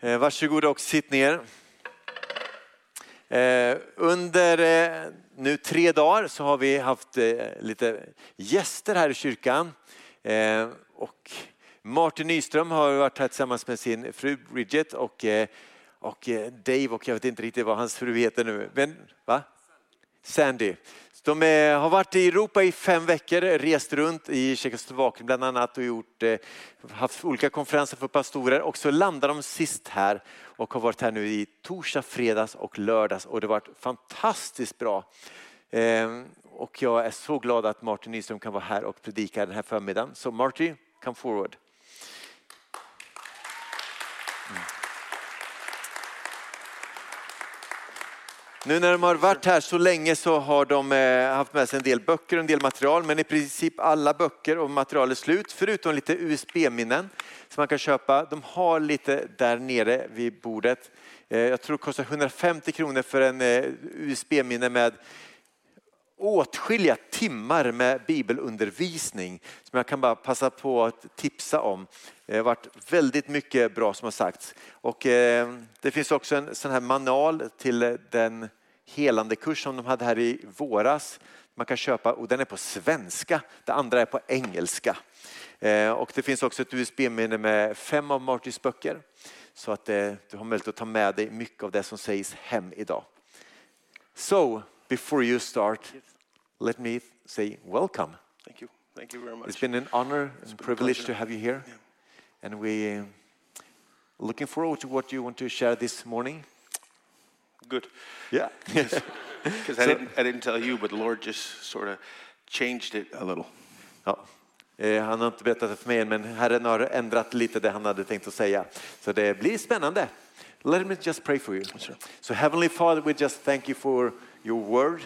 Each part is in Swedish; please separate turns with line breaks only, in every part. Eh, Varsågoda och sitt ner. Eh, Under eh, nu tre dagar så har vi haft eh, lite gäster här i kyrkan. Eh, Och Martin Nyström har varit här tillsammans med sin fru Bridget och, eh, och eh, Dave och jag vet inte riktigt vad hans fru heter nu. Men, va? Sandy. De eh, har varit i Europa i fem veckor, rest runt i Tjeckoslovakien bland annat och gjort, eh, haft olika konferenser för pastorer och så landade de sist här och har varit här nu i torsdag, fredags och lördags och det har varit fantastiskt bra. Eh, Och jag är så glad att Martin Nyström kan vara här och predika den här förmiddagen. Så Marty, come forward. Nu när de har varit här så länge så har de eh, haft med sig en del böcker och en del material, men i princip alla böcker och material är slut, förutom lite USB-minnen som man kan köpa. De har lite där nere vid bordet. Eh, Jag tror det kostar 150 kronor för en eh, USB-minne med åtskilliga timmar med bibelundervisning som jag kan bara passa på att tipsa om. Det har varit väldigt mycket bra som har sagts. Och eh, det finns också en sån här manual till den helande kurs som de hade här i våras. Man kan köpa och den är på svenska, det andra är på engelska. Eh, Och det finns också ett USB-minne med fem av Martys böcker. Så att eh, du har möjlighet att ta med dig mycket av det som sägs hem idag. So, before you start, let me say welcome.
Thank you. Thank you very much.
It's been an honor and
been a
privilege to
pleasure.
have you here. And we uh, looking forward to what you want to share this morning.
Good.
Yeah.
Because I, didn't, I didn't tell you, but the Lord just sort of changed it a little.
ja. Eh, Han har inte berättat det för mig än, men Herren har ändrat lite det han hade tänkt att säga. Så det blir spännande. Let me just pray for you.
sir.
So Heavenly Father, we just thank you for your word.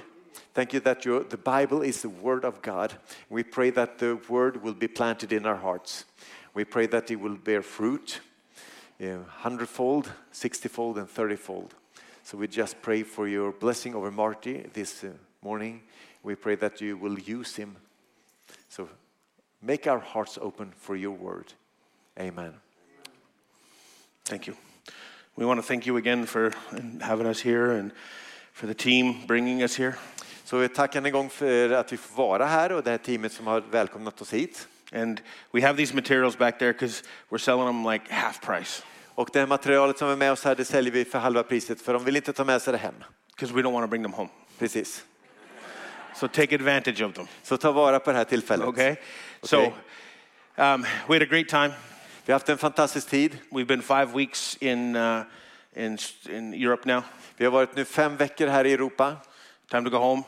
Thank you that your, the Bible is the word of God. We pray that the word will be planted in our hearts. We pray that it will bear fruit, yeah, hundredfold, sixtyfold, and thirtyfold. So we just pray for your blessing over Marty this uh, morning. We pray that you will use him. So make our hearts open for your word. Amen.
Thank you. We want to thank you again for having us here and for the team bringing us here.
Så vi tackar än en gång för att vi får vara här och det här teamet som har välkomnat oss hit.
And we have these materials back there because we're selling them like half price
Och det här materialet som är med oss här, det säljer vi för halva priset för de vill inte ta med sig det hem.
because we don't want to bring them home.
Precis.
So take advantage of them.
Så ta vara på det här tillfället.
Okay? So um, we had a great time.
Vi har haft en fantastisk tid.
We've been five weeks in, uh, in, in Europe now.
Vi har varit nu fem veckor här i Europa.
Time to go home.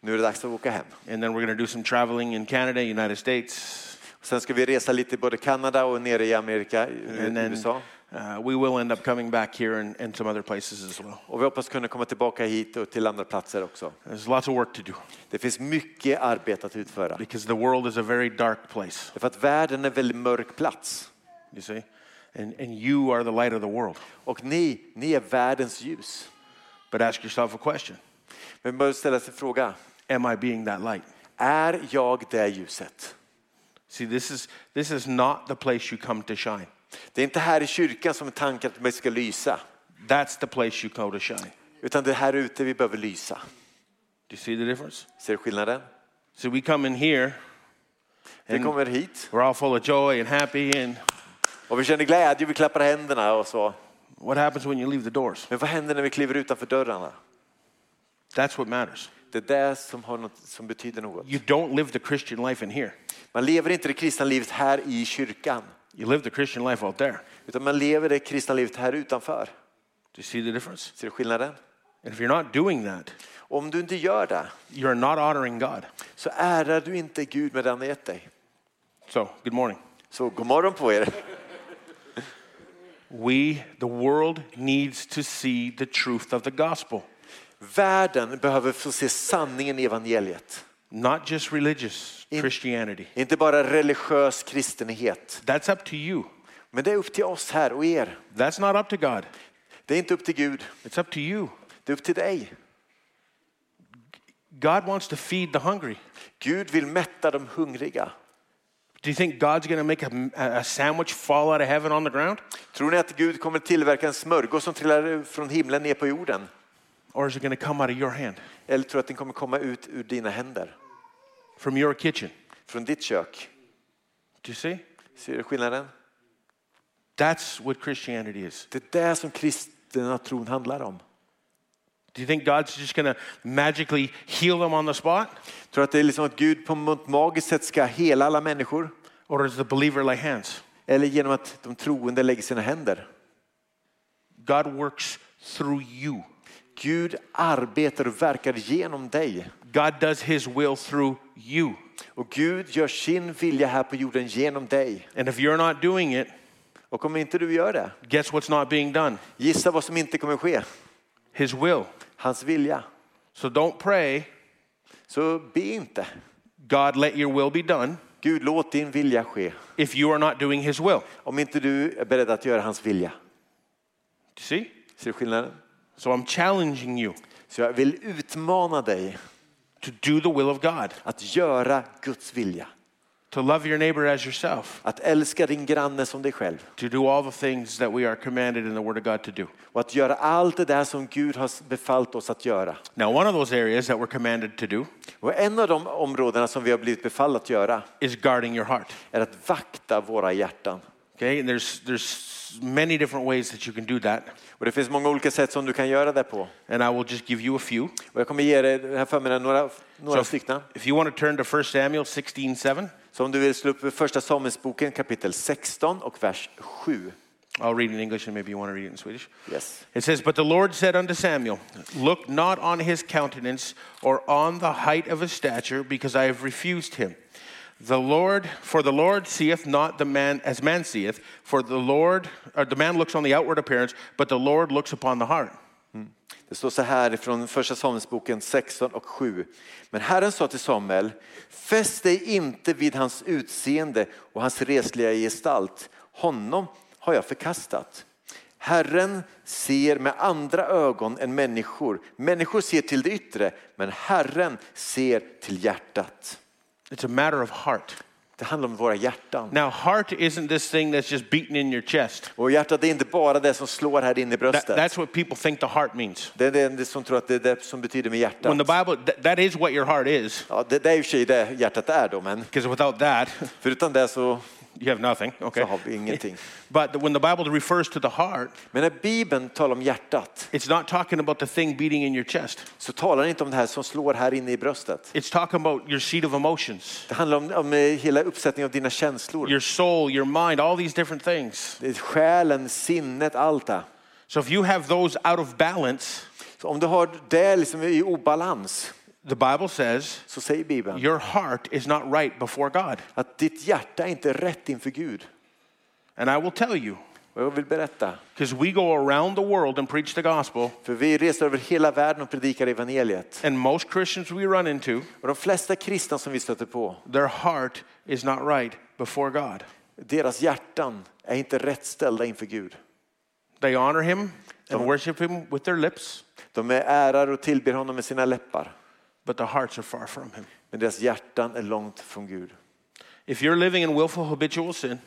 Nu är det dags att åka hem.
And then we're going to do some traveling in Canada, United States.
Sen ska vi resa lite i både Kanada och nere i Amerika, i
And then
USA.
uh, we will end up coming back here and, and some other places as well.
Och vi hoppas kunna komma tillbaka hit och till andra platser också.
There's lots of work to do
Det finns mycket arbete att utföra.
because the world is a very dark place,
Därför att världen är en väldigt mörk plats.
you see? And, and you are the light of the world.
Och ni, ni är världens ljus.
But ask yourself a question
Men man bör ställa sig fråga,
Am I being that light?
är jag det ljuset?
See, this is, this is not the place you come to shine.
Det är inte här i kyrkan som är tanken att vi ska lysa,
That's the place you go to shine. Do
utan det är här ute vi behöver lysa.
you see the difference?
Ser du skillnaden?
So we come in here,
Vi kommer hit
we're all full of joy and happy, and
och vi känner glädje, vi klappar händerna och så.
what happens when you leave the doors?
Men vad händer när vi kliver utanför dörrarna?
That's what matters.
Det är det som, har något, som betyder något.
You don't live the Christian life in here.
Man lever inte det kristna livet här i kyrkan,
You live the Christian life out there.
utan man lever det kristna livet här utanför.
Do you see the difference?
Ser du skillnaden?
And if you're not doing that,
Om du inte gör det
you're not honoring God.
så ärar du inte Gud med det han har gett dig.
So, good morning.
Så god morgon på er.
We, the world, needs to see the truth of the gospel,
Världen behöver få se sanningen i evangeliet.
not just religious
In-
Christianity.
Inte bara religiös kristenhet.
That's up to you.
Men det är upp till oss här och er.
That's not up to God.
Det är inte upp till Gud,
It's up to you.
det är upp till dig.
God wants to feed the hungry.
Gud vill mätta de hungriga.
Do you think God's going to make a, a sandwich fall out of heaven on the ground?
Tror ni att Gud kommer tillverka en smörgås som trillar från himlen ner på jorden?
Or is it going to come out of your hand,
Eller tror du att den kommer komma ut ur dina händer?
from your kitchen?
Från ditt kök?
Do you see?
Ser du skillnaden?
That's what Christianity is.
Det är det som kristna tron handlar om.
Do you think God's just going to magically heal them on the spot?
Tror du att det är liksom att Gud på något magiskt sätt ska hela alla människor?
Or does the believer lay hands?
Eller genom att de troende lägger sina händer?
God works through you.
Gud arbetar och verkar genom dig.
God does his will through you.
Och Gud gör sin vilja här på jorden genom dig.
And if you're not doing it,
Och om inte du gör det,
guess what's not being done?
gissa vad som inte kommer ske?
His will.
Hans vilja.
So don't pray,
Så be inte.
God, let your will be done,
Gud, låt din vilja ske.
if you are not doing his will.
Om inte du är beredd att göra hans vilja.
Do you see?
Ser du skillnaden?
So I'm challenging you
Så jag vill utmana dig
to do the will of God,
att göra Guds vilja.
to love your neighbor as yourself,
Att älska din granne som dig själv.
to do all the things that we are commanded in the Word of God to do.
Och att göra allt det där som Gud har befallt oss att göra.
Now, one of those areas that we're commanded to do
Och en av de områdena som vi har blivit befall att göra
is guarding your heart.
är att vakta våra hjärtan.
Okay, and there's there's many different ways that you can do that,
Och det finns många olika sätt som du kan göra det på.
and I will just give you a few.
Och jag kommer ge dig den här förmiddagen några, några
So if,
stycken.
if you want to turn to 1 Samuel 16:7,
Så om du vill slå upp i första Samuelsboken kapitel 16 och vers 7.
I'll read it in English, and maybe you want to read it in Swedish.
Yes.
It says, But the Lord said unto Samuel, Look not on his countenance or on the height of his stature, because I have refused him. The Lord, for the Lord seeth not the man as man seeth, for the Lord, or the man looks on the outward appearance, but the Lord looks upon the heart.
Det står så här från första Samuelsboken 16 och 7. Men Herren sa till Samuel, fäst dig inte vid hans utseende och hans resliga gestalt. Honom har jag förkastat. Herren ser med andra ögon än människor. Människor ser till det yttre, men Herren ser till hjärtat.
It's a matter of heart.
Det handlar om våra hjärtan.
Now, heart isn't this thing that's just beaten in your chest.
Och hjärtat det är inte bara det som slår här inne i
That,
bröstet.
that's what people think the heart means.
Det är det som tror att det är det som betyder med hjärtat.
When the Bible, th- that is what your heart is,
Ja, det, det är i och för sig det hjärtat är då, men
because without that,
förutom det så
you have nothing. Okay.
så har vi ingenting.
But when the Bible refers to the heart,
Men när Bibeln talar om hjärtat
It's not talking about the thing beating in your chest.
så talar den inte om det här som slår här inne i bröstet.
It's talking about your seat of emotions,
Det handlar om, om eh, hela uppsättningen av dina känslor.
your soul, your mind, all these different things.
Det är Själen, sinnet, allt det.
So if you have those out of balance,
Så om du har det liksom i obalans
the Bible says
så säger Bibeln
your heart is not right before God.
att ditt hjärta är inte är rätt inför Gud.
And I will tell you,
Och jag vill berätta,
because we go around the world and preach the gospel,
för vi reser över hela världen och predikar evangeliet.
and most Christians we run into,
Och de flesta kristna som vi stöter på,
their heart is not right before God.
deras hjärtan är inte rätt ställda inför Gud.
They honor Him and worship Him with their lips,
De är ärar och tillber honom med sina läppar.
but their hearts are far from Him.
Men deras hjärtan är långt från Gud.
If you're living in willful habitual sin,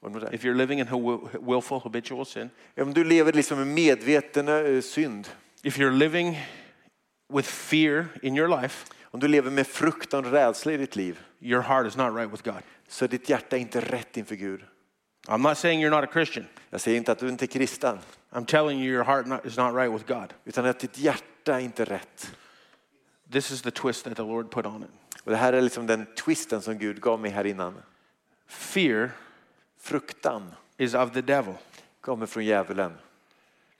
Vad menar du?
If you're living in hu- willful habitual sin,
Om du lever liksom med medveten eh, synd,
if you're living with fear in your life,
om du lever med fruktan och rädsla i ditt liv,
your heart is not right with God.
så är ditt hjärta inte rätt inför Gud.
I'm not saying you're not a Christian.
Jag säger inte att du inte är kristen,
I'm telling you, your heart not, is not right with God.
utan att ditt hjärta är inte rätt.
This is the twist that the Lord put on it.
Och det här är liksom den twisten som Gud gav mig här innan.
Fear
Fruktan
is of the devil.
kommer från djävulen.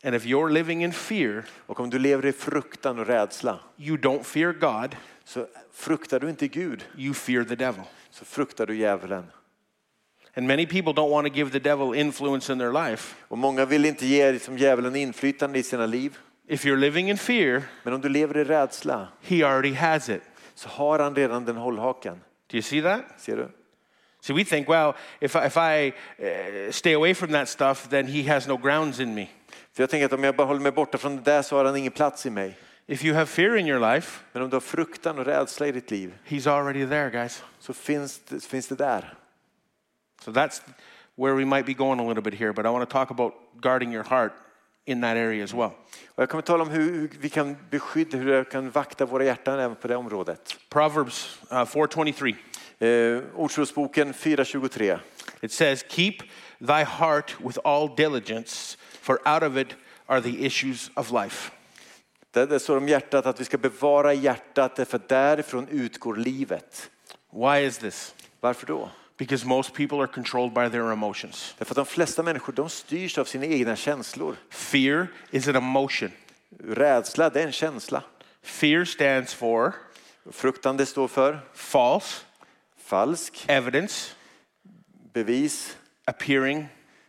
And if you're living in fear,
Och om du lever i fruktan och rädsla,
you don't fear God,
så fruktar du inte Gud,
you fear the devil.
så fruktar du djävulen.
And many people don't want to give the devil influence in their life.
Och många vill inte ge liksom, djävulen inflytande i sina liv.
If you're living in fear,
Men om du lever i rädsla
he already has it.
så har han redan den hållhaken.
Do you see that?
Ser du?
See, we think, well, if I, if I uh, stay away from that stuff, then he has no grounds in me.
För jag tänker att om jag bara håller mig borta från det där så har han ingen plats i mig.
If you have fear in your life,
Men om du har fruktan och rädsla i ditt liv
he's already there, guys.
så finns det, finns det där.
So that's where we might be going a little bit here, but I want to talk about guarding your heart in that area as well.
Och jag kommer tala om hur vi kan beskydda, hur vi kan vakta våra hjärtan även på det området.
Proverbs uh, 4:23.
Eh, Ordspråksboken 4.23.
It says, "Keep thy heart with all diligence, for out of it are the issues of life."
Där, där står om hjärtat att vi ska bevara hjärtat därför att därifrån utgår livet.
Why is this?
Varför då?
Because most people are controlled by their emotions.
Därför att de flesta människor de styrs av sina egna känslor.
Fear is an emotion.
Rädsla det är en känsla.
Fear stands for
Fruktan det står för
false
falsk,
evidence
bevis
appearing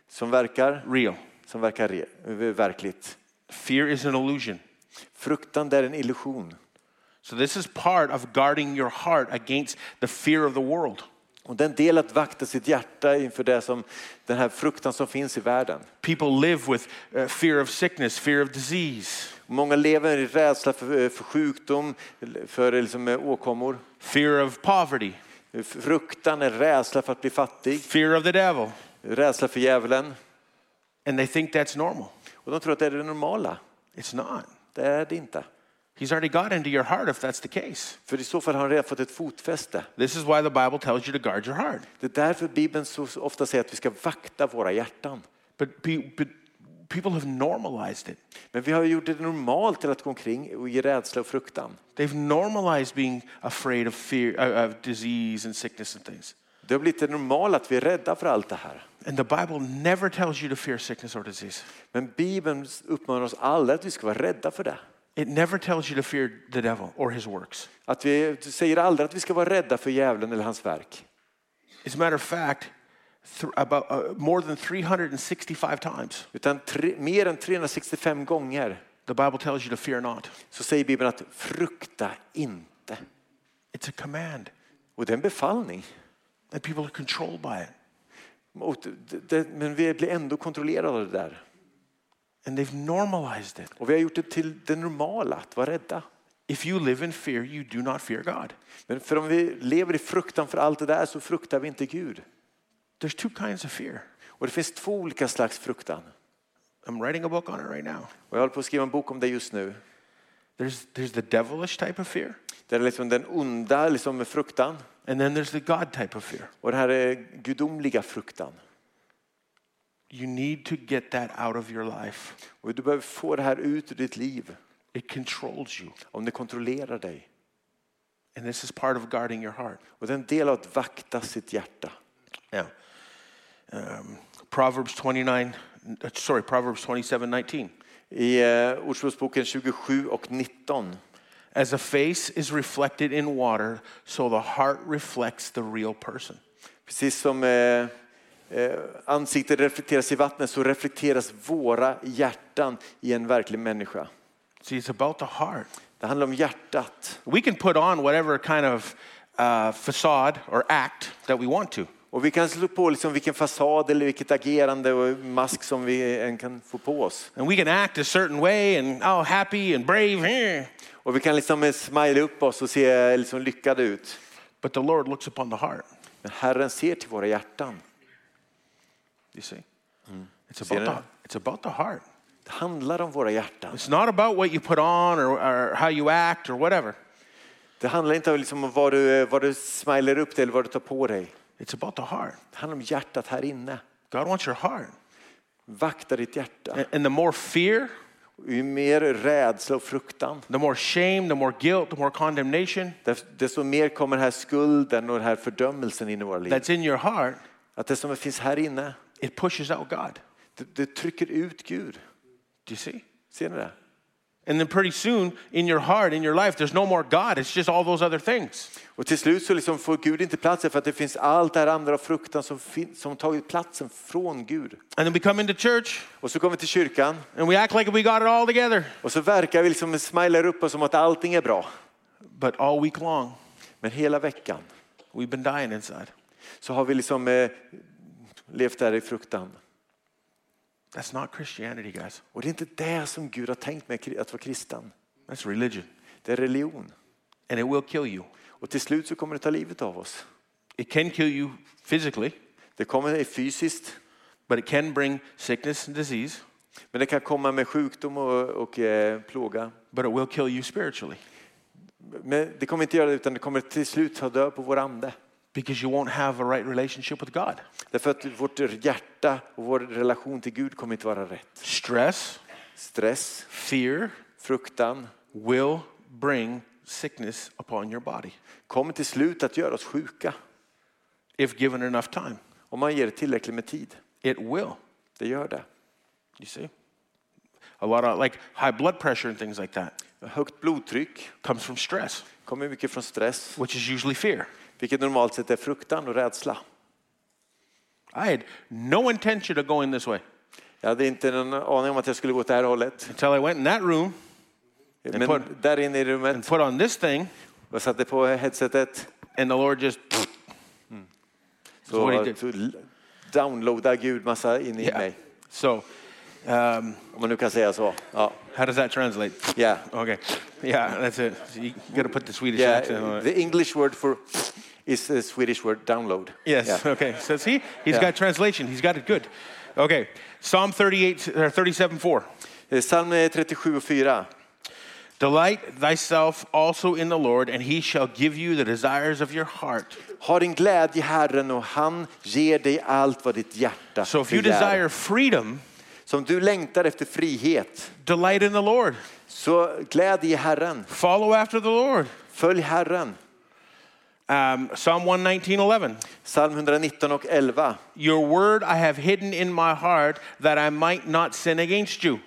som verkar,
real.
som verkar re- eh, verkligt.
Fear is an illusion.
Fruktan det är en illusion.
So this is part of guarding your heart against the fear of the world.
Och den del att vakta sitt hjärta inför det som, den här fruktan som finns i världen.
People live with uh, fear of sickness, fear of disease,
Många lever i rädsla för, eh, för sjukdom, för liksom eh, åkommor.
fear of poverty,
Fruktan är rädsla för att bli fattig,
fear of the devil,
rädsla för djävulen.
and they think that's normal.
Och de tror att det är det normala.
It's not.
Det är det inte.
He's already got into your heart if that's the case.
För i så fall har han redan fått ett fotfäste.
This is why the Bible tells you to guard your heart.
Det är därför Bibeln så så ofta säger att vi ska vakta våra hjärtan.
But, pe- but people have normalized it.
Men vi har ju gjort det normalt till att gå omkring och i rädsla och fruktan.
They've normalized being afraid of fear, uh, of disease and sickness and things.
Det har blivit det normala att vi är rädda för allt det här.
And the Bible never tells you to fear sickness or disease.
Men Bibeln uppmanar oss alla att vi ska vara rädda för det.
It never tells you to fear the devil or his works.
Att vi du säger aldrig att vi ska vara rädda för djävulen eller hans verk.
As a matter of fact, th- about uh, more than 365 times,
Utan tre, mer än 365 gånger
the Bible tells you to fear not.
så säger Bibeln att frukta inte.
It's a command,
Och det är en befallning.
and people are controlled by it.
Och det- det- Men vi blir ändå kontrollerade av det där.
And they've normalized it.
Och vi har gjort det till det normala att vara rädda.
If you live in fear, you do not fear God.
Men för om vi lever i fruktan för allt det där så fruktar vi inte Gud.
There's two kinds of fear.
Och det finns två olika slags fruktan.
I'm writing a book on it right now.
Och jag håller på att skriva en bok om det just nu.
There's, there's the devilish type of fear,
Det är liksom den onda liksom, fruktan
and then there's the God type of fear.
och den här eh, gudomliga fruktan.
You need to get that out of your life.
Och du behöver få det här ut ur ditt liv
It controls you.
om det kontrollerar dig.
And this is part of guarding your heart.
Och det är en del av att vakta sitt hjärta.
Now, um, Proverbs 29, uh, sorry, Proverbs 27, 19.
I eh, Ordspråksboken 27 och 19.
As a face is reflected in water, so the heart reflects the real person.
Precis som eh, eh, ansiktet reflekteras i vattnet så reflekteras våra hjärtan i en verklig människa.
See, it's about the heart.
Det handlar om hjärtat.
We can put on whatever kind of uh, facade or act that we want to.
Och vi kan slå på liksom vilken fasad eller vilket agerande och mask som vi än kan få på oss.
And we can act a certain way and, oh, happy and brave. eh.
Och vi kan liksom eh, smile upp oss och se liksom lyckade ut.
But the Lord looks upon the heart,
Men Herren ser till våra hjärtan.
you see. It's,
Hmm. See
about the,
that?
it's about the heart.
Det handlar om våra hjärtan.
It's not about what you put on or, or how you act or whatever.
Det handlar inte om liksom vad, du, eh, vad du smiler upp till eller vad du tar på dig.
It's about the heart.
Det handlar om hjärtat här inne.
God wants your heart.
Vakta ditt hjärta.
And- And the more fear,
Ju mer rädsla och fruktan,
the more shame, the more guilt, the more condemnation
def- desto mer kommer den här skulden och den här fördömelsen in i våra liv.
that's in your heart,
Att det som finns här inne,
it pushes out God.
det, det trycker ut Gud.
Do you see?
Ser ni det?
And then pretty soon, in your heart, in your life, there's no more God. It's just all those other things.
Och till slut så liksom får Gud inte plats där för att det finns allt det här andra av fruktan som, fin- som tagit platsen från Gud.
And then we come into church
Och så kommer vi till kyrkan
and we act like we got it all together.
och så verkar vi liksom smilar upp oss som att allting är bra.
But all week long,
Men hela veckan
we've been dying inside.
så har vi liksom eh, levt där i fruktan.
That's not Christianity, guys.
Och det är inte det som Gud har tänkt med kri- att vara kristen.
That's religion.
Det är religion.
And it will kill you.
Och till slut så kommer det ta livet av oss.
It can kill you physically,
Det kommer fysiskt,
but it can bring sickness and disease,
men det kan komma med sjukdom och, och eh, plåga.
but it will kill you spiritually
Men det kommer inte göra det utan det kommer till slut ta död på vår ande.
because you won't have a right relationship with God.
Därför att vårt hjärta och vår relation till Gud kommer inte vara rätt.
Stress,
Stress,
fear
fruktan
will bring sickness upon your body
kommer till slut att göra oss sjuka.
if given enough time.
Om man ger det tillräckligt med tid.
It will.
Det gör det.
You see? A lot of like high blood pressure and things like that
Högt blodtryck
comes from stress,
kommer mycket från stress,
which is usually fear.
vilket normalt sett är fruktan och rädsla.
I had no intention of going this way
Jag hade inte någon aning om att jag skulle gå åt det här hållet.
until I went in that room
Men
på-
där inne i
and
rummet,
put on this thing,
jag satte på headsetet,
and the Lord just what he
så
did.
så downloadade Gud massa in i
yeah.
mig.
So, um,
Om man nu kan säga så. Ja.
how does that translate?
Yeah.
Okay, yeah, that's it. So you got to put the Swedish accent on
Yeah,
it.
the English word for is the Swedish word download.
Yes.
Yeah.
Okay. So see, he's
Yeah.
got translation. He's got it good. Okay. Psalm 38 or 37 4.
Eh, Psalm 37 och 4.
Delight thyself also in the Lord, and he shall give you the desires of your heart.
Ha din glädje i Herren och han ger dig allt vad ditt hjärta
So if you
begär.
desire freedom,
Så om du längtar efter frihet,
delight in the Lord.
så gläd dig i Herren.
Follow after the Lord.
Följ Herren.
Um, Psalm 119 11.
Psalm 119 och 11.
Your word I have hidden in my heart that I might not sin against you.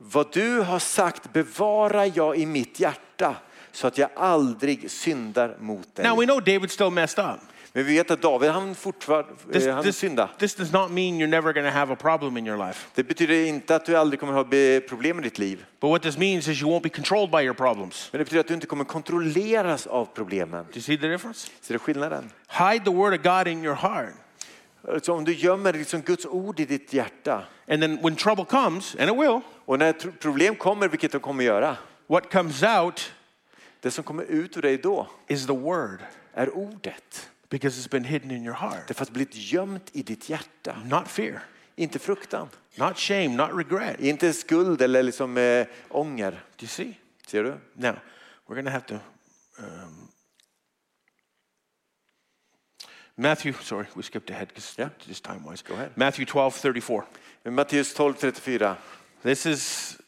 Vad du har sagt bevarar jag i mitt hjärta så att jag aldrig syndar mot dig.
Now we know David still messed up.
Men vi vet att David han fortfarande
This,
eh, han
this,
synda.
this does not mean you're never going to have a problem in your life.
Det betyder inte att du aldrig kommer ha be- problem i ditt liv.
But what this means is you won't be controlled by your problems.
Men det betyder att du inte kommer kontrolleras av problemen.
Do you see the difference?
Ser du skillnaden?
Hide the word of God in your heart.
Så om du gömmer liksom Guds ord i ditt hjärta
And then when trouble comes, and it will,
och när tro- problem kommer, vilket de kommer göra,
what comes out
det som kommer ut ur dig då
is the word
är ordet.
because it's been hidden in your heart.
Det har blivit gömt i ditt hjärta,
Not fear,
inte fruktan.
not shame, not regret. Do
Inte skuld eller liksom, eh, ånger.
you see?
Ser du?
Now, we're going to have to. Um, Matthew, sorry, we skipped ahead because
Yeah.
just time wise.
Go ahead.
Matthew 12, 34.
Matteus 12, 34.
This is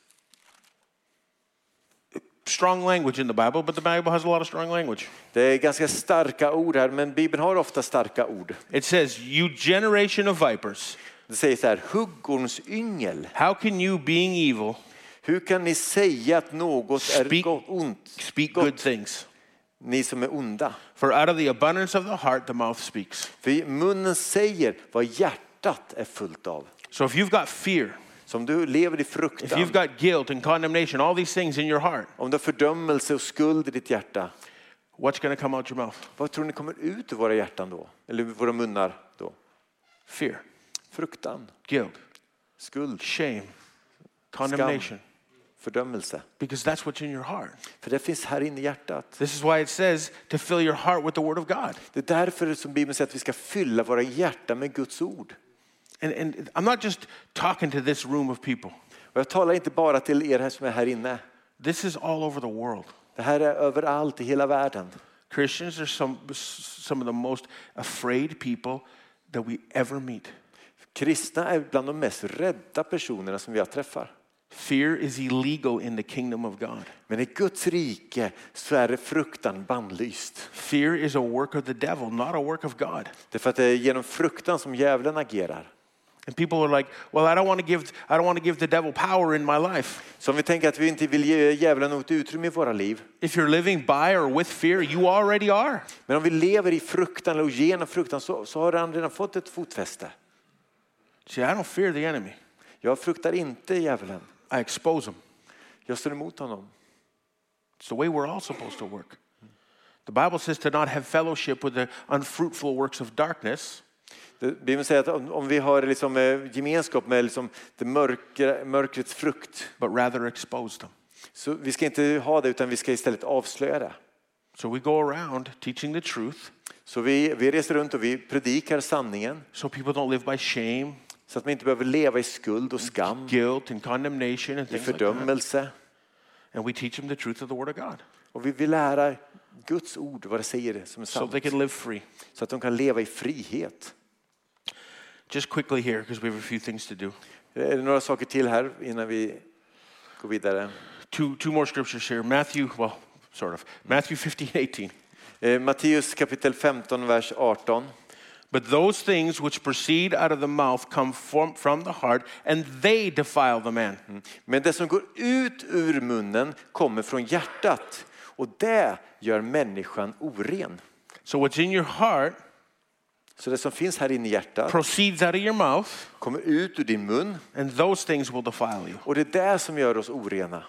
strong language in the Bible, but the Bible has a lot of strong language.
Det är ganska starka ord här, men Bibeln har ofta starka ord.
It says, You generation of vipers,
Det säger så här, huggorns yngel.
how can you, being evil,
Hur kan ni säga att något är
Speak-
gott, ont?
speak
gott,
good things?
Ni som är onda.
For out of the abundance of the heart, the mouth speaks.
För munnen säger vad hjärtat är fullt av.
So if you've got fear,
Så om du lever i
if
fruktan,
you've got guilt and condemnation, all these things in your heart,
om du har fördömelse och skuld i ditt hjärta,
what's going to come out your mouth?
vad tror ni kommer ut ur våra hjärtan då? Eller ur våra munnar då?
Fear,
Fruktan,
guilt,
skuld,
shame, condemnation.
fördömelse.
Because that's what's in your heart.
För det finns här inne i hjärtat.
This is why it says to fill your heart with the Word of God.
Det är därför som Bibeln säger att vi ska fylla våra hjärtan med Guds ord.
And, and I'm not just talking to this room of people,
Och jag talar inte bara till er här som är här inne.
this is all over the world.
Det här är överallt i hela världen.
Christians are some, some of the most afraid people that we ever meet.
Kristna är bland de mest rädda personerna som jag träffar.
Fear is illegal in the kingdom of God.
Men i Guds rike så är fruktan bannlyst.
Fear is a work of the devil, not a work of God.
Därför att det är genom fruktan som djävulen agerar.
And people are like, "Well, I don't want to give I don't want to give the devil power in my life."
Så om vi tänker att vi inte vill ge djävulen något utrymme i våra liv.
If you're living by or with fear, you already are.
Men om vi lever i fruktan och genom fruktan så, så har han redan fått ett fotfäste.
See, I don't fear the enemy.
Jag fruktar inte djävulen.
I expose him.
Jag står emot honom.
It's the way we're all supposed to work. The Bible says to not have fellowship with the unfruitful works of darkness,
Det- Bibeln säger att om, om vi har liksom, eh, gemenskap med liksom, det mörker, mörkrets frukt
but rather expose them.
Så vi ska inte ha det utan vi ska istället avslöja det.
So we go around teaching the truth
Så vi, vi reser runt och vi predikar sanningen
so people don't live by shame,
så att man inte behöver leva i skuld och skam,
guilt, and condemnation and
i
things like that.
fördömelse.
And we teach them the truth of the Word of God
Och vi vill lära Guds ord, vad det säger som är
so
sant,
they can live free.
så att de kan leva i frihet.
Just quickly here, because we have a few things to do.
Eh, Är det några saker till här innan vi går vidare?
Two, two more scriptures here. Matthew, well, sort of. Matthew 15, 18.
Eh, Matteus kapitel 15, vers 18.
But those things which proceed out of the mouth come from, from the heart, and they defile the man.
Hmm. Mm. Men det som går ut ur munnen kommer från hjärtat och det gör människan oren.
So what's in your heart
Så det som finns här inne i hjärtat
proceeds out of your mouth,
kommer ut ur din mun
and those things will defile you.
och det är det som gör oss orena.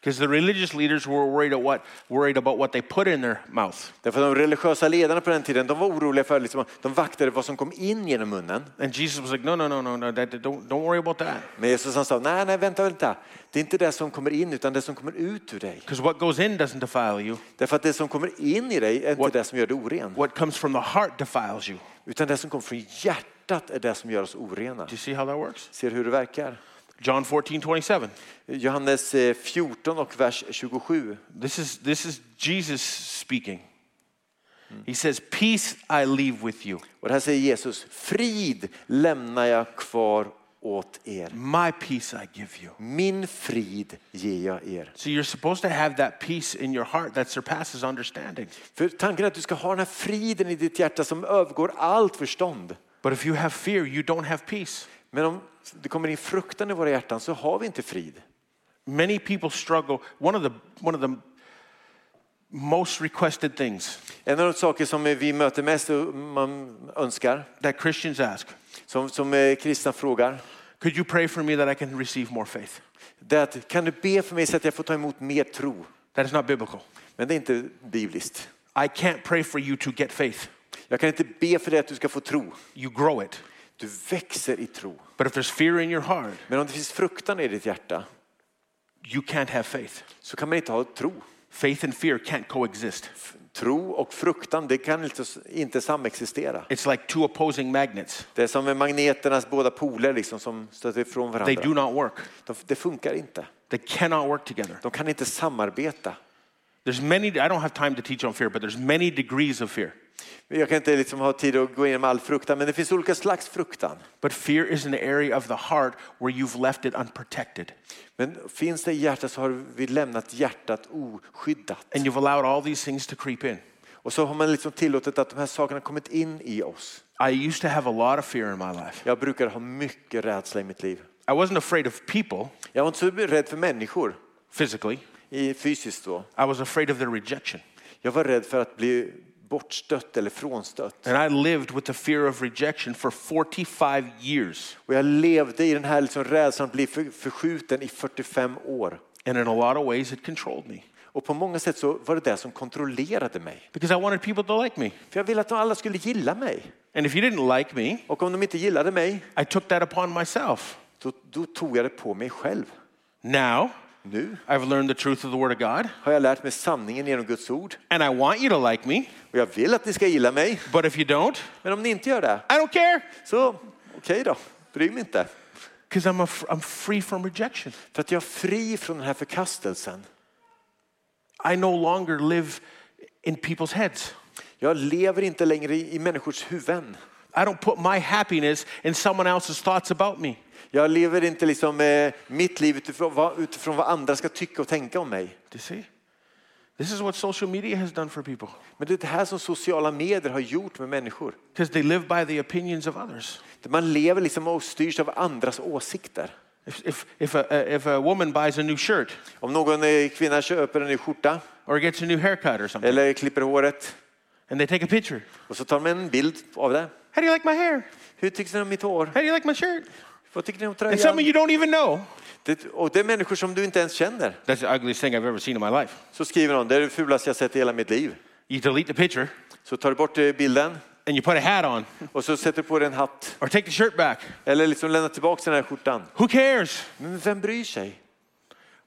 Because the religious leaders were worried, at what, worried about what they put in their mouth.
Därför de religiösa ledarna på den tiden de var oroliga för liksom, de vaktade vad som kom in genom munnen.
And Jesus was like, no, no, no, no, no, that, don't, don't worry about that.
Men Jesus han sa, nej, nej, vänta, vänta. Det är inte det som kommer in utan det som kommer ut ur dig.
Because what goes in doesn't defile you.
Därför att det som kommer in i dig är inte
What-
det som gör dig oren.
What comes from the heart defiles you.
Utan det som kommer från hjärtat är det som gör oss orena.
Do you see how that works?
Ser hur det verkar?
John 14, 27.
Johannes eh, 14 och vers 27.
This is, this is Jesus speaking. He says, Peace I leave with you,
Och det här säger Jesus, frid lämnar jag kvar åt er.
my peace I give you.
Min frid ger jag er.
So you're supposed to have that peace in your heart that surpasses understanding.
För tanken är att du ska ha den här friden i ditt hjärta som övergår allt förstånd.
But if you have fear, you don't have peace.
Men om det kommer in fruktan i våra hjärtan så har vi inte frid.
Many people struggle. One of the, one of the most requested things
En av de saker som vi möter mest och man önskar,
that Christians ask
som, som eh, kristna frågar,
Could you pray for me that I can receive more faith?
det är att kan du be för mig så att jag får ta emot mer tro?
That is not biblical.
Men det är inte bibliskt.
I can't pray for you to get faith.
Jag kan inte be för dig att du ska få tro.
You grow it.
Du växer i tro.
But if there's fear in your heart,
Men om det finns fruktan i ditt hjärta
you can't have faith.
så kan man inte ha tro.
Faith and fear can't coexist.
F- Tro och fruktan, det kan inte, inte samexistera.
It's like two opposing magnets.
Det är som med magneternas båda poler liksom som stöter ifrån
They do
varandra.
not work.
De, det funkar inte.
They cannot work together.
De kan inte samarbeta.
There's many I don't have time to teach on fear, but there's many degrees of fear.
Jag kan inte liksom ha tid att gå igenom all fruktan, men det finns olika slags fruktan.
But fear is an area of the heart where you've left it unprotected.
Men finns det i hjärtat så har vi lämnat hjärtat oskyddat.
And you've allowed all these things to creep in.
Och så har man liksom tillåtit att de här sakerna kommit in i oss.
I used to have a lot of fear in my life.
Jag brukar ha mycket rädsla i mitt liv.
I wasn't afraid of people
Jag var inte så rädd för människor
physically.
i fysiskt då.
I was afraid of their rejection.
Jag var rädd för att bli bortstött eller frånstött.
And I lived with the fear of rejection for 45 years.
Och jag levde i den här liksom rädslan att bli för- förskjuten i 45 år.
And in a lot of ways, it controlled me
Och på många sätt så var det det som kontrollerade mig.
because I wanted people to like me.
För jag ville att de alla skulle gilla mig.
And if you didn't like me,
Och om de inte gillade mig,
I took that upon myself.
då, då tog jag det på mig själv.
Now,
Nu
I've learned the truth of the Word of God,
har jag lärt mig sanningen genom Guds ord.
and I want you to like me,
Och jag vill att ni ska gilla mig.
but if you don't,
Men om ni inte gör det,
I don't care
så okej då. Bry mig inte.
because I'm, af- I'm free from rejection.
För att jag är fri från den här förkastelsen.
I no longer live in people's heads.
Jag lever inte längre i, i människors huvuden.
I don't put my happiness in someone else's thoughts about me.
Jag lever inte liksom, eh, mitt liv utifrån vad, utifrån vad andra ska tycka och tänka om mig.
Do you see? This is what social media has done for people
Men det är det här som sociala medier har gjort med människor.
because they live by the opinions of others.
Man lever liksom och styrs av andras åsikter.
If, if, if, a, if a woman buys a new shirt
Om någon eh, kvinna köper en ny skjorta
or gets a new haircut or something,
eller klipper håret
and they take a picture,
och så tar man en bild av det.
how do you like my hair?
Hur tycker ni om mitt hår?
How do you like my shirt?
Vad tycker ni om
And some of
tröjan?
you don't even know.
Det, och det är människor som du inte ens känner.
That's the ugliest thing I've ever seen in my life.
Så skriver någon, det är det fulaste jag sett i hela mitt liv.
You delete the picture
Så tar du bort eh, bilden
and you put a hat on
och så sätter du på dig en hatt.
or take the shirt back.
Eller liksom lämnar tillbaka den här skjortan.
Who cares?
Men vem bryr sig?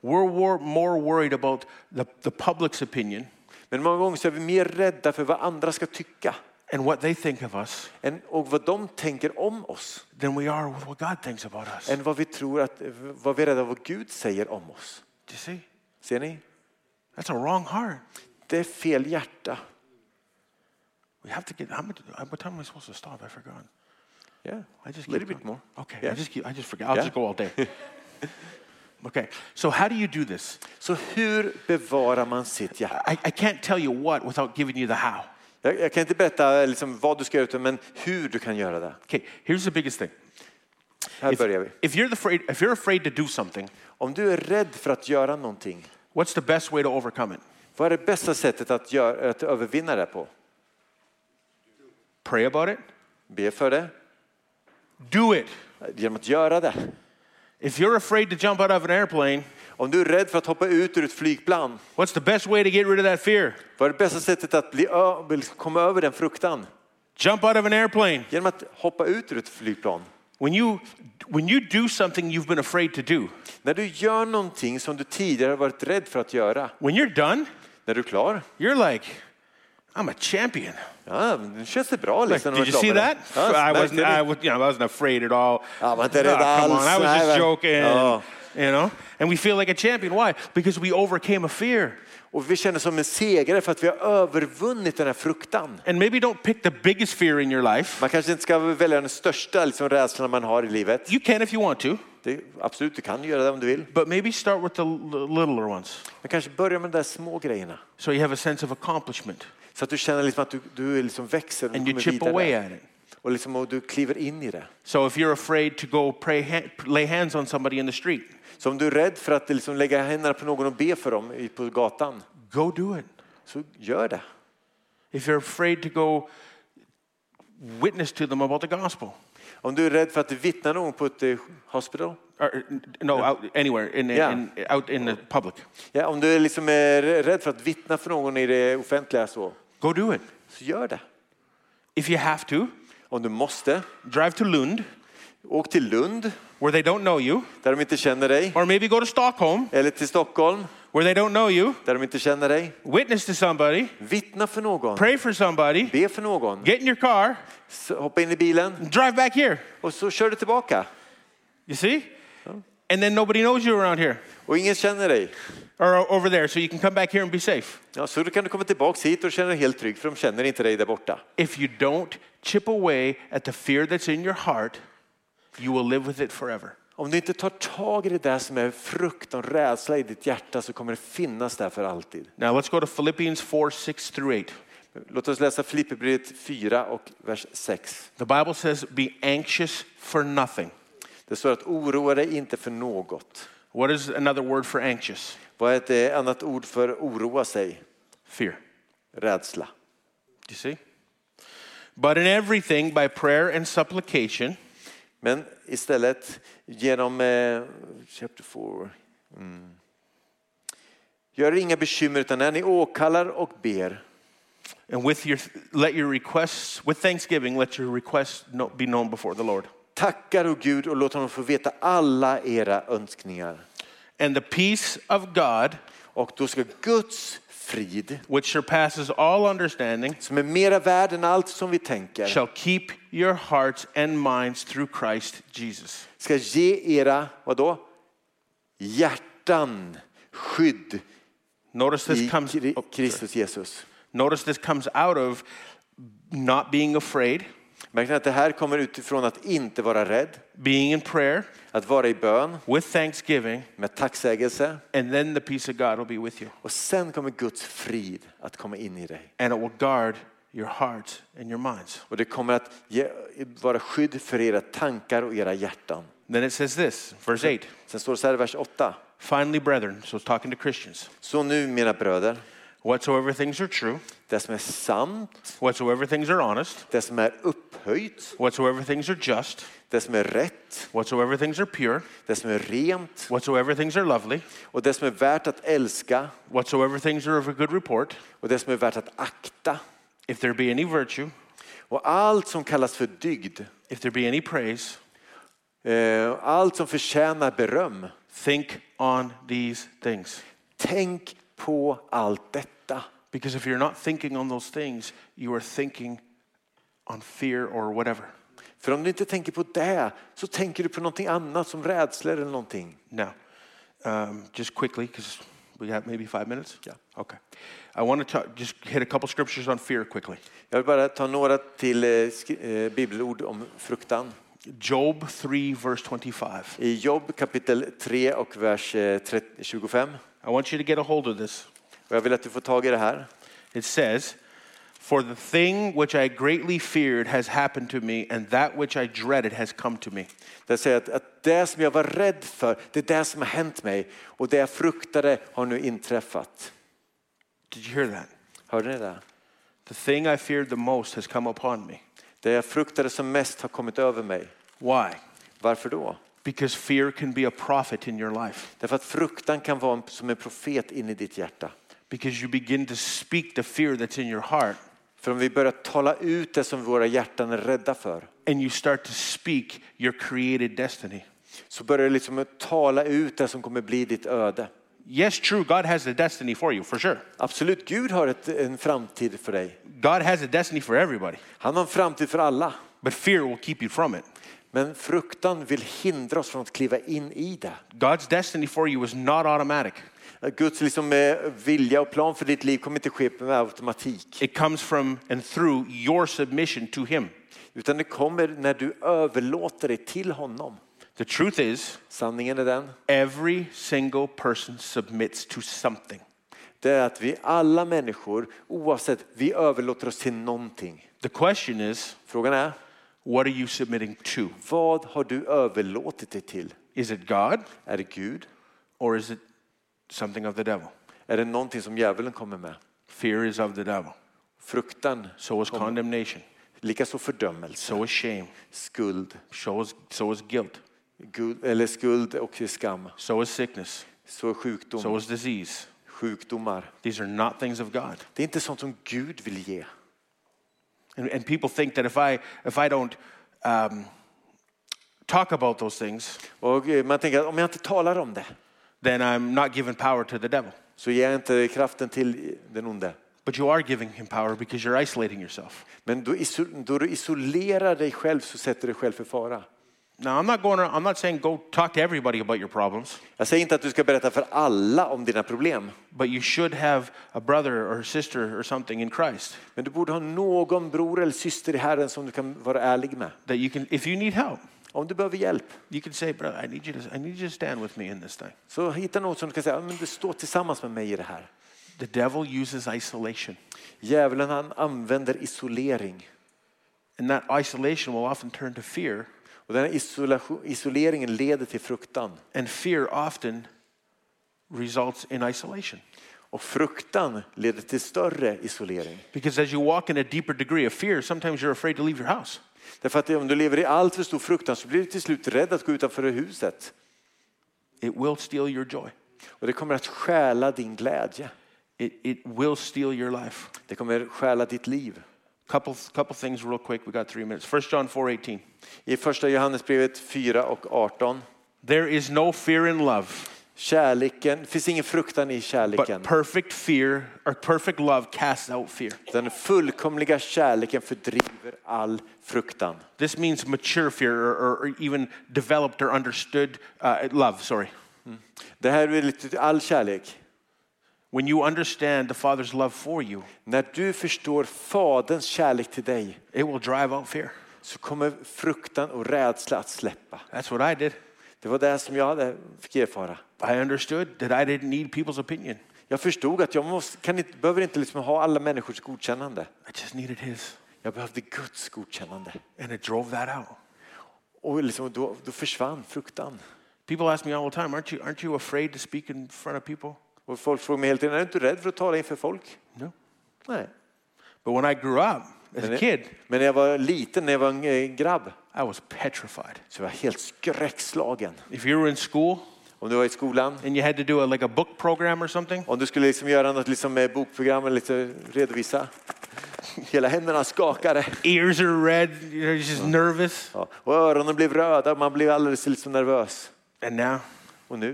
We're wor- more worried about the, the public's opinion
Men många gånger så är vi mer rädda för vad andra ska tycka
and what they think of us
än, och vad de tänker om oss
than we are with what God thinks about us.
än vad vi tror att, vad vi är rädda vad Gud säger om oss.
Do you see?
Ser ni?
That's a wrong heart.
Det är fel hjärta.
We have to get. How much, uh, what time am I supposed to stop? I forgot.
Yeah.
I just
Little
keep
bit
going.
more.
Okay.
Yeah.
I just keep, I just forget. I'll
Yeah.
just go all day. okay. So how do you do this?
Så hur bevarar man sitt hjärta?
I, I can't tell you what without giving you the how.
Jag, jag kan inte berätta liksom vad du ska göra utan men hur du kan göra det.
Okay. Here's the biggest thing.
Här
If,
börjar vi.
if you're afraid, if you're afraid to do something,
Om du är rädd för att göra någonting,
what's the best way to overcome it?
vad är det bästa sättet att, göra, att övervinna det på?
Pray about it.
Be för det
Do it.
genom att göra det.
If you're afraid to jump out of an airplane,
Om du är rädd för att hoppa ut ur ett flygplan,
what's the best way to get rid of that fear?
vad är det bästa sättet att bli ö- bli- komma över den fruktan?
Jump out of an airplane.
Genom att hoppa ut ur ett flygplan.
When you when you do something you've been afraid to do,
När du gör någonting som du tidigare har varit rädd för att göra,
when you're done,
när du är klar,
you're like, I'm a champion.
ja, men nu känns det bra.
Like,
Liksom, när
did you
man är klar
see that?
med det. Ja,
I
märkte
wasn't.
du?
I was. You know, I wasn't afraid at all.
Ja, man inte är
Nah,
rädd
come
alls.
on, I was
Nej,
just
men-
joking.
Ja.
You know, and we feel like a champion. Why? Because we overcame a fear.
Och vi känner som en segrare för att vi har övervunnit den här fruktan.
And maybe don't pick the biggest fear in your life.
Man kanske inte ska välja den största liksom, rädslan man har i livet.
You can if you want to,
Det, absolut, du kan göra det om du vill.
but maybe start with the l- littler ones,
Men kanske börja med de där små grejerna.
so you have a sense of accomplishment
Så att du känner liksom att du, du liksom växer och
and you
kommer
chip
vidare.
away at it.
Och, liksom, och du kliver in i det.
So if you're afraid to go pray, ha- lay hands on somebody in the street,
Så om du är rädd för att liksom lägga händerna på någon och be för dem i- på gatan,
go do it.
så gör det.
If you're afraid to go witness to them about the gospel,
Om du är rädd för att vittna någon på ett eh, hospital,
or, uh, n- no, out anywhere in,
Yeah.
in, out in the public,
ja, om du är liksom är rädd för att vittna för någon i det offentliga, så,
go do it.
så gör det.
If you have to,
Om du måste,
drive to Lund
åk till Lund,
where they don't know you,
där de inte känner dig,
or maybe go to Stockholm
eller till Stockholm,
where they don't know you,
där de inte känner dig.
witness to somebody,
Vittna för någon,
pray for somebody,
be för någon,
get in your car,
S- hoppa in i bilen
and drive back here.
och så kör du tillbaka.
You see? And then nobody knows you around here
Och ingen känner dig.
or o- over there, so you can come back here and be safe.
Ja, så då kan du komma tillbaka hit och känna dig helt trygg, för de känner inte dig där borta.
If you don't chip away at the fear that's in your heart, you will live with it forever.
Om du inte tar tag i det där som är fruktan och rädsla i ditt hjärta så kommer det finnas där för alltid.
Now let's go to Philippians 4 6 through 8.
Låt oss läsa Filipperbrevet 4 och vers 6.
The Bible says, be anxious for nothing.
Det står att oroa dig inte för något.
What is another word for anxious?
Vad är ett eh, annat ord för oroa sig?
Fear.
Rädsla.
Do you see? But in everything, by prayer and supplication,
Men istället genom eh, chapter 4. Mm. Gör er inga bekymmer utan när ni åkallar och ber
and with your, let your requests, with thanksgiving, let your requests kno- be known before the Lord.
tackar och Gud och låt honom få veta alla era önskningar.
And the peace of God,
Och då ska Guds frid
which surpasses all understanding,
som är mera värd än allt som vi tänker
shall keep your hearts and minds through Christ Jesus.
ska ge era, vadå? Hjärtan skydd
Notice
i
this comes,
Kri-
oh, sorry.
Kristus Jesus.
notice this comes out of not being afraid,
Märker ni att det här kommer utifrån att inte vara rädd,
being in prayer
att vara i bön
with thanksgiving,
med tacksägelse
and then the peace of God will be with you.
och sen kommer Guds frid att komma in i dig.
and it will guard your hearts and your minds.
Och det kommer att ge, vara skydd för era tankar och era hjärtan.
Then it says this, verse 8
Sen står det så här i vers 8.
Finally, brethren, so it's talking to Christians,
Så nu mina bröder,
whatsoever things are true,
det som är sant,
whatsoever things are honest,
det som är upphöjt,
whatsoever things are just,
det som är rätt,
whatsoever things are pure,
det som är rent
whatsoever things are lovely,
och det som är värt att älska
whatsoever things are of a good report,
och det som är värt att akta
if there be any virtue,
och allt som kallas för dygd,
if there be any praise,
eh, allt som förtjänar beröm,
Think on these things.
Tänk på allt detta.
Because if you're not thinking on those things, you are thinking on fear or whatever.
För om du inte tänker på det så tänker du på någonting annat som rädslor eller någonting.
Now, um, just quickly, because we got maybe five minutes.
Yeah.
Okay. I want to talk, just hit a couple scriptures on fear quickly.
Jag vill bara ta några till eh, skri- eh, bibelord om fruktan.
Job 3, verse 25.
I Jobb kapitel 3 och vers eh, 30 25.
I want you to get a hold of this.
Och jag vill att du får tag i det här.
It says, For the thing which I greatly feared has happened to me, and that which I dreaded has come to me.
Där säger att, att det som jag var rädd för, det är det som har hänt mig och det jag fruktade har nu inträffat.
Did you hear that?
Hörde ni det?
The thing I feared the most has come upon me.
Det jag fruktade som mest har kommit över mig.
Why?
Varför då?
Because fear can be a prophet in your life.
Därför att fruktan kan vara en- som en profet in i ditt hjärta.
Because you begin to speak the fear that's in your heart,
För om vi börjar tala ut det som våra hjärtan är rädda för
and you start to speak your created destiny.
så börjar det liksom att tala ut det som kommer bli ditt öde.
Yes, true, God has a destiny for you, for sure.
Absolut, Gud har ett, en framtid för dig.
God has a destiny for everybody,
Han har en framtid för alla.
but fear will keep you from it.
Men fruktan vill hindra oss från att kliva in i det.
God's destiny for you is not automatic.
Att Guds liksom eh, vilja och plan för ditt liv kommer inte ske med automatik.
It comes from and through your submission to Him.
Utan det kommer när du överlåter dig till honom.
The truth is,
Sanningen är den,
every single person submits to something.
det är att vi alla människor, oavsett, vi överlåter oss till någonting.
The question is,
Frågan är,
what are you submitting to?
vad har du överlåtit dig till?
Is it God
Är det Gud?
or is it something of the devil?
Är det någonting som djävulen kommer med?
Fear is of the devil.
Fruktan,
So is condemnation.
likaså fördömelse,
So is shame.
skuld,
So is, so is guilt.
guld, eller skuld och skam.
So is sickness.
Så sjukdom,
So is disease.
sjukdomar.
These are not things of God.
Det är inte sånt som Gud vill ge.
And, and people think that if I, if I don't um, talk about those things,
Och eh, man tänker att om jag inte talar om det
then I'm not giving power to the devil.
så ger jag inte kraften till den onde.
But you are giving him power because you're isolating yourself.
Men då, iso- då du isolerar dig själv så sätter du dig själv för fara.
Now, I'm not going. Around, I'm not saying go talk to everybody about your problems,
Jag säger inte att du ska berätta för alla om dina problem.
but you should have a brother or sister or something in Christ
Men du borde ha någon bror eller syster i Herren som du kan vara ärlig med.
that you can. If you need help,
Om du behöver hjälp
you can say, "Brother, I need you to. I need you to stand with me in this thing."
så hitta någon som du kan säga, "Ja, men du står tillsammans med mig i det här.
The devil uses isolation,
Djävulen han använder isolering.
and that isolation will often turn to fear,
Och den här isolation, isoleringen leder till fruktan.
and fear often results in isolation.
Och fruktan leder till större isolering.
Because as you walk in a deeper degree of fear, sometimes you're afraid to leave your house.
Därför att om du lever i allt för stor fruktan så blir du till slut rädd att gå utanför huset.
It will steal your joy.
Och det kommer att stjäla din glädje.
It, it will steal your life.
Det kommer stjäla ditt liv.
Couple, couple things real quick. We got three minutes. 1 John 4.18.
I första Johannesbrevet 4 och 18.
There is no fear in love,
Kärleken, det finns ingen fruktan i kärleken.
but perfect fear or perfect love casts out fear.
Den fullkomliga kärleken fördriver all fruktan.
This means mature fear or, or, or even developed or understood uh, love, sorry.
Det här är lite till all kärlek.
When you understand the Father's love for you,
När du förstår Faderns kärlek till dig
it will drive out fear.
så kommer fruktan och rädsla att släppa.
That's what I did.
Det var det som jag hade- fick erfara.
I understood that I didn't need people's opinion.
Jag förstod att jag måste, kan inte, behöver inte liksom ha alla människors godkännande.
I just needed His.
Jag behövde Guds godkännande.
And it drove that out.
Och liksom då, då försvann fruktan.
People ask me all the time, aren't you, aren't you afraid to speak in front of people?
Och folk frågar mig hela tiden, är du inte rädd för att tala inför folk?
No.
Nej.
But when I grew up as a
Men,
kid,
men när jag var liten, när jag var en eh, grabb,
I was petrified.
så var jag helt skräckslagen.
If you were in school
Om du var i skolan,
and you had to do a, like a book program or something,
om du skulle liksom göra något liksom eh, bokprogram eller lite redovisa. Hela händerna skakade
ears are red, you're just nervous.
ja. och öronen blev röda och man blev alldeles liksom nervös.
And now
och nu.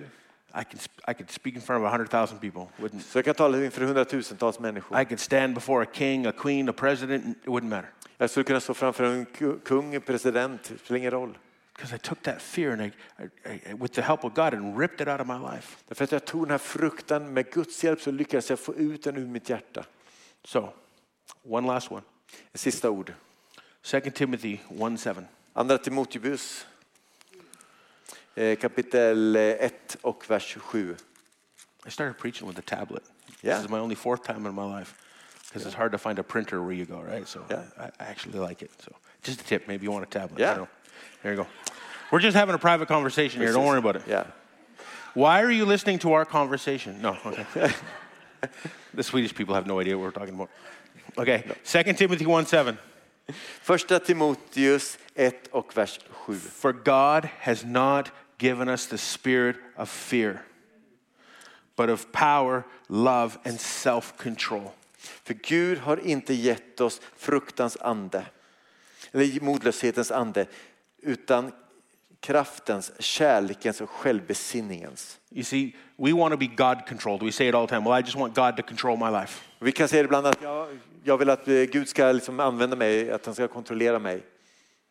I, can, sp- I could speak in front of 100,000 people. Wouldn't,
Så jag kan tala inför hundratusentals människor.
I could stand before a king, a queen, a president. It wouldn't matter.
Jag skulle kunna stå framför en ku- kung, en president, det spelar ingen roll.
Because I took that fear and I, I, I, with the help of God and ripped it out of my life.
Därför att jag tog den här fruktan, med Guds hjälp så lyckades jag få ut den ur mitt hjärta.
So, one last one.
Ett sista ord.
2 Timothy 1 7.
Andra Timoteus eh, kapitel 1 och vers 7.
I started preaching with a tablet.
Yeah.
This is my only fourth time in my life because it's hard to find a printer where you go, right? So
Yeah.
I, I actually like it. So just a tip, maybe you want a tablet. I
Yeah.
don't know. There you go. We're just having a private conversation here. Don't worry about it.
Ja.
Why are you listening to our conversation? No, okay. the Swedish people have no idea what we're talking about. Okay, Second Timothy 1 7.
Första Timoteus 1 och vers 7.
For God has not given us the spirit of fear, but of power, love, and self control.
För Gud har inte gett oss fruktans ande, eller modlöshetens ande, utan kraftens, kärlekens och självbesinningens.
You see, we want to be God controlled. We say it all the time. Well, I just want God to control my life.
Vi kan säga ibland att jag, jag vill att eh, Gud ska liksom använda mig, att han ska kontrollera mig.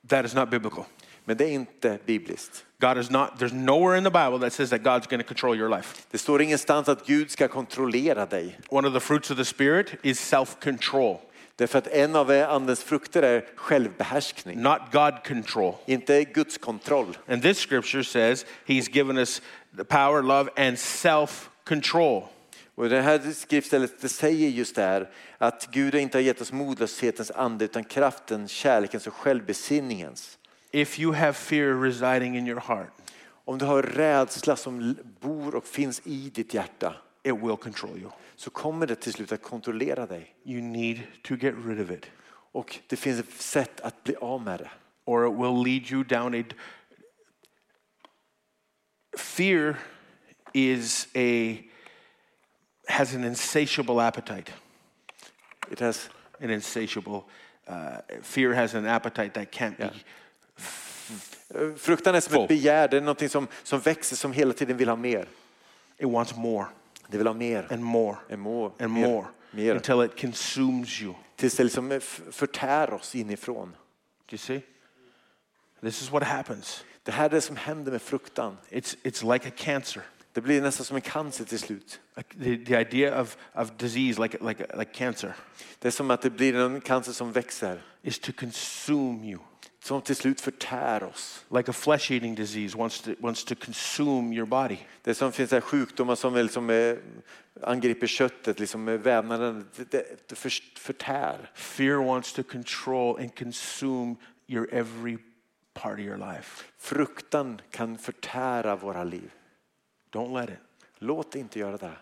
That is not biblical.
Men det är inte bibliskt.
God is not, there's nowhere in the Bible that says that God's going to control your life.
Det står ingenstans att Gud ska kontrollera dig.
One of the fruits of the Spirit is self control,
Därför att en av eh, andens frukter är självbehärskning,
not God control.
inte Guds kontroll.
And this scripture says he's given us the power, love, and self control.
Och det här skriftstället det säger just det här att Gud inte har gett oss modlöshetens ande utan kraften, kärlekens och självbesinningens.
If you have fear residing in your heart,
Om du har rädsla som l- bor och finns i ditt hjärta
it will control you.
så kommer det till slut att kontrollera dig.
You need to get rid of it,
Och det finns ett sätt att bli av med det.
or it will lead you down a. Fear is a has an insatiable appetite.
It has,
An insatiable uh, fear has an appetite that can't be.
eh, fruktan är som
Full.
ett begär, det är någonting som, som växer som hela tiden vill ha mer.
It wants more
Det vill ha mer
and more
and more,
and
mer,
more
mer.
until it consumes you.
tills det liksom eh, f- förtär oss inifrån.
Do you see? This is what happens.
Det här är det som händer med fruktan.
It's, it's like a cancer.
Det blir nästan som en cancer till slut.
Like the, the idea of, of disease, like, like, like cancer,
Det är som att det blir en cancer som växer,
is to consume you.
som till slut förtär oss.
Like a flesh eating disease wants to, wants to consume your body.
Det är som finns här sjukdomar som väl som eh, angriper köttet, liksom eh, vävnaden, det, det, det för, förtär.
Fear wants to control and consume your every part of your life.
Fruktan kan förtära våra liv.
Don't let it.
Låt inte göra det.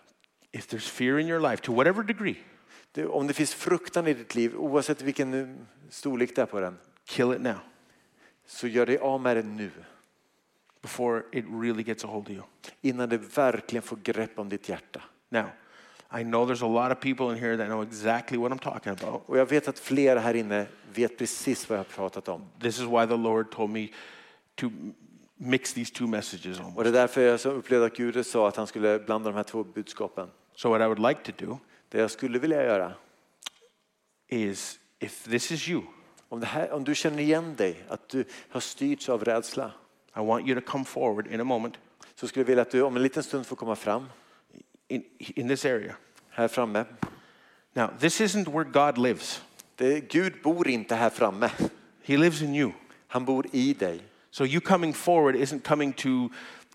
If there's fear in your life, to whatever degree,
Du, om det finns fruktan i ditt liv, oavsett vilken eh, storlek det är på den,
kill it now
så gör dig av med den nu.
before it really gets a hold of you.
Innan det verkligen får grepp om ditt hjärta.
Now, I know there's a lot of people in here that know exactly what I'm talking about.
Och jag vet att flera här inne vet precis vad jag har pratat om.
This is why the Lord told me to m- mix these two messages
Och
almost.
det är därför jag så upplevde att Gud sa att han skulle blanda de här två budskapen.
So, what I would like to do
Det jag skulle vilja göra,
is if this is you,
om, det här, om du känner igen dig, att du har styrts av rädsla,
I want you to come forward in a moment
så skulle jag vilja att du om en liten stund får komma fram,
in, in this area.
här framme.
Now, this isn't where God lives,
Det, Gud bor inte här framme,
He lives in you.
han bor i dig.
So, you coming forward isn't coming to,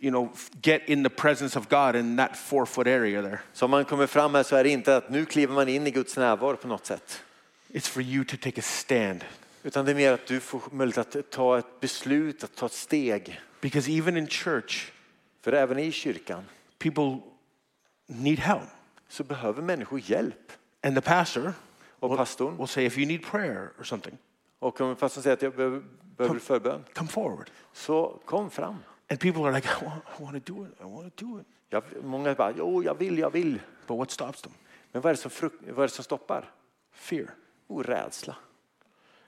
you know, f- get in the presence of God in that four foot area there.
Så om man kommer fram här så är det inte att nu kliver man in i Guds närvaro på något sätt.
It's for you to take a stand.
Utan det är mer att du får möjlighet att ta ett beslut, att ta ett steg.
Because even in church,
För även i kyrkan
people need help.
så behöver människor hjälp.
And the pastor
Och pastorn,
will say, if you need prayer or something,
och om pastorn säger att jag behöver, behöver förbön,
come forward.
så kom fram.
And people are like, I want, I want to do it. I want to do it.
Jag, många bara, jo, jag vill, jag vill.
But what stops them?
Men vad är det som, fruk- vad är det som stoppar?
Fear.
Jo, rädsla.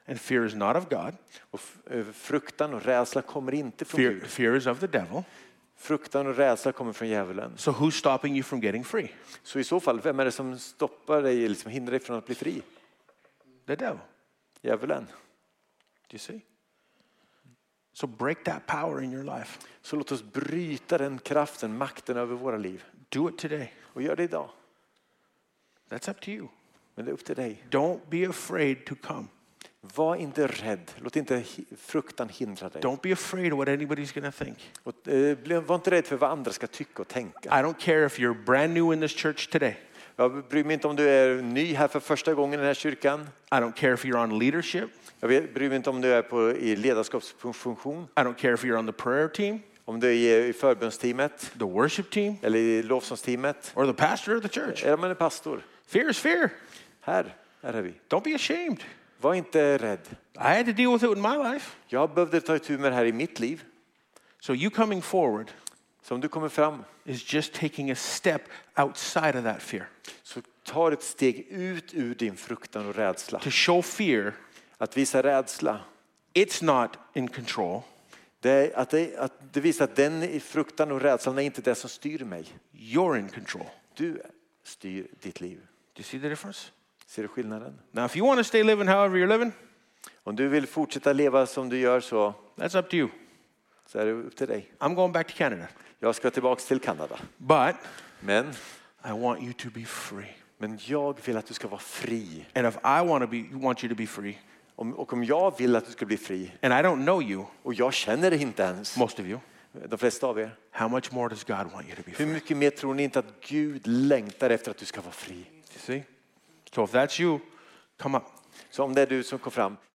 And fear is not of God.
Och f- eh, fruktan och rädsla kommer inte från
Fear,
Gud.
fear is of the devil.
Fruktan och rädsla kommer från djävulen.
So who's stopping you from getting free?
Så i så fall, vem är det som stoppar dig, liksom hindrar dig från att bli fri?
The devil.
Djävulen.
Do you see? So break that power in your life.
Så låt oss bryta den kraften, makten över våra liv.
Do it today.
Och gör det idag.
That's up to you.
Men det är upp till dig.
Don't be afraid to come.
Var inte rädd. Låt inte hi- fruktan hindra dig.
Don't be afraid of what anybody's going to think.
Och, eh, bli- var inte rädd för vad andra ska tycka och tänka.
I don't care if you're brand new in this church today.
Jag bryr mig inte om du är ny här för första gången i den här kyrkan.
I don't care if you're on leadership.
Jag vet- bryr mig inte om du är på, i ledarskapsfunktion,
I don't care if you're on the prayer team,
om du är i- i förbundsteamet
the worship team,
eller i lovsångsteamet.
or the pastor of the church.
Eller om man är pastor.
Fear is fear.
Här, här är vi.
Don't be ashamed.
Var inte rädd.
I had to deal with it in my life.
Jag behövde ta itu med det här i mitt liv.
So you coming forward
Så om du kommer fram
is just taking a step outside of that fear.
så tar ett steg ut ur din fruktan och rädsla.
To show fear,
Att visa rädsla,
it's not in control.
det är att, det, att det visar att den i fruktan och rädslan är inte det som styr mig.
You're in control.
Du styr ditt liv.
Do you see the difference?
Ser du skillnaden?
Now, if you want to stay living however you're living,
Om du vill fortsätta leva som du gör så,
that's up to you.
så är det upp till dig.
I'm going back to Canada.
Jag ska tillbaka till Kanada.
But
Men,
I want you to be free.
men jag vill att du ska vara fri.
And if I want to be want you to be free,
Om, och om jag vill att du ska bli fri,
and I don't know you,
och jag känner dig inte ens,
most of you,
de flesta av er,
how much more does God want you to be
hur
free?
mycket mer tror ni inte att Gud längtar efter att du ska vara fri?
You see? So if that's you, come up.
Så om det är du som kom fram,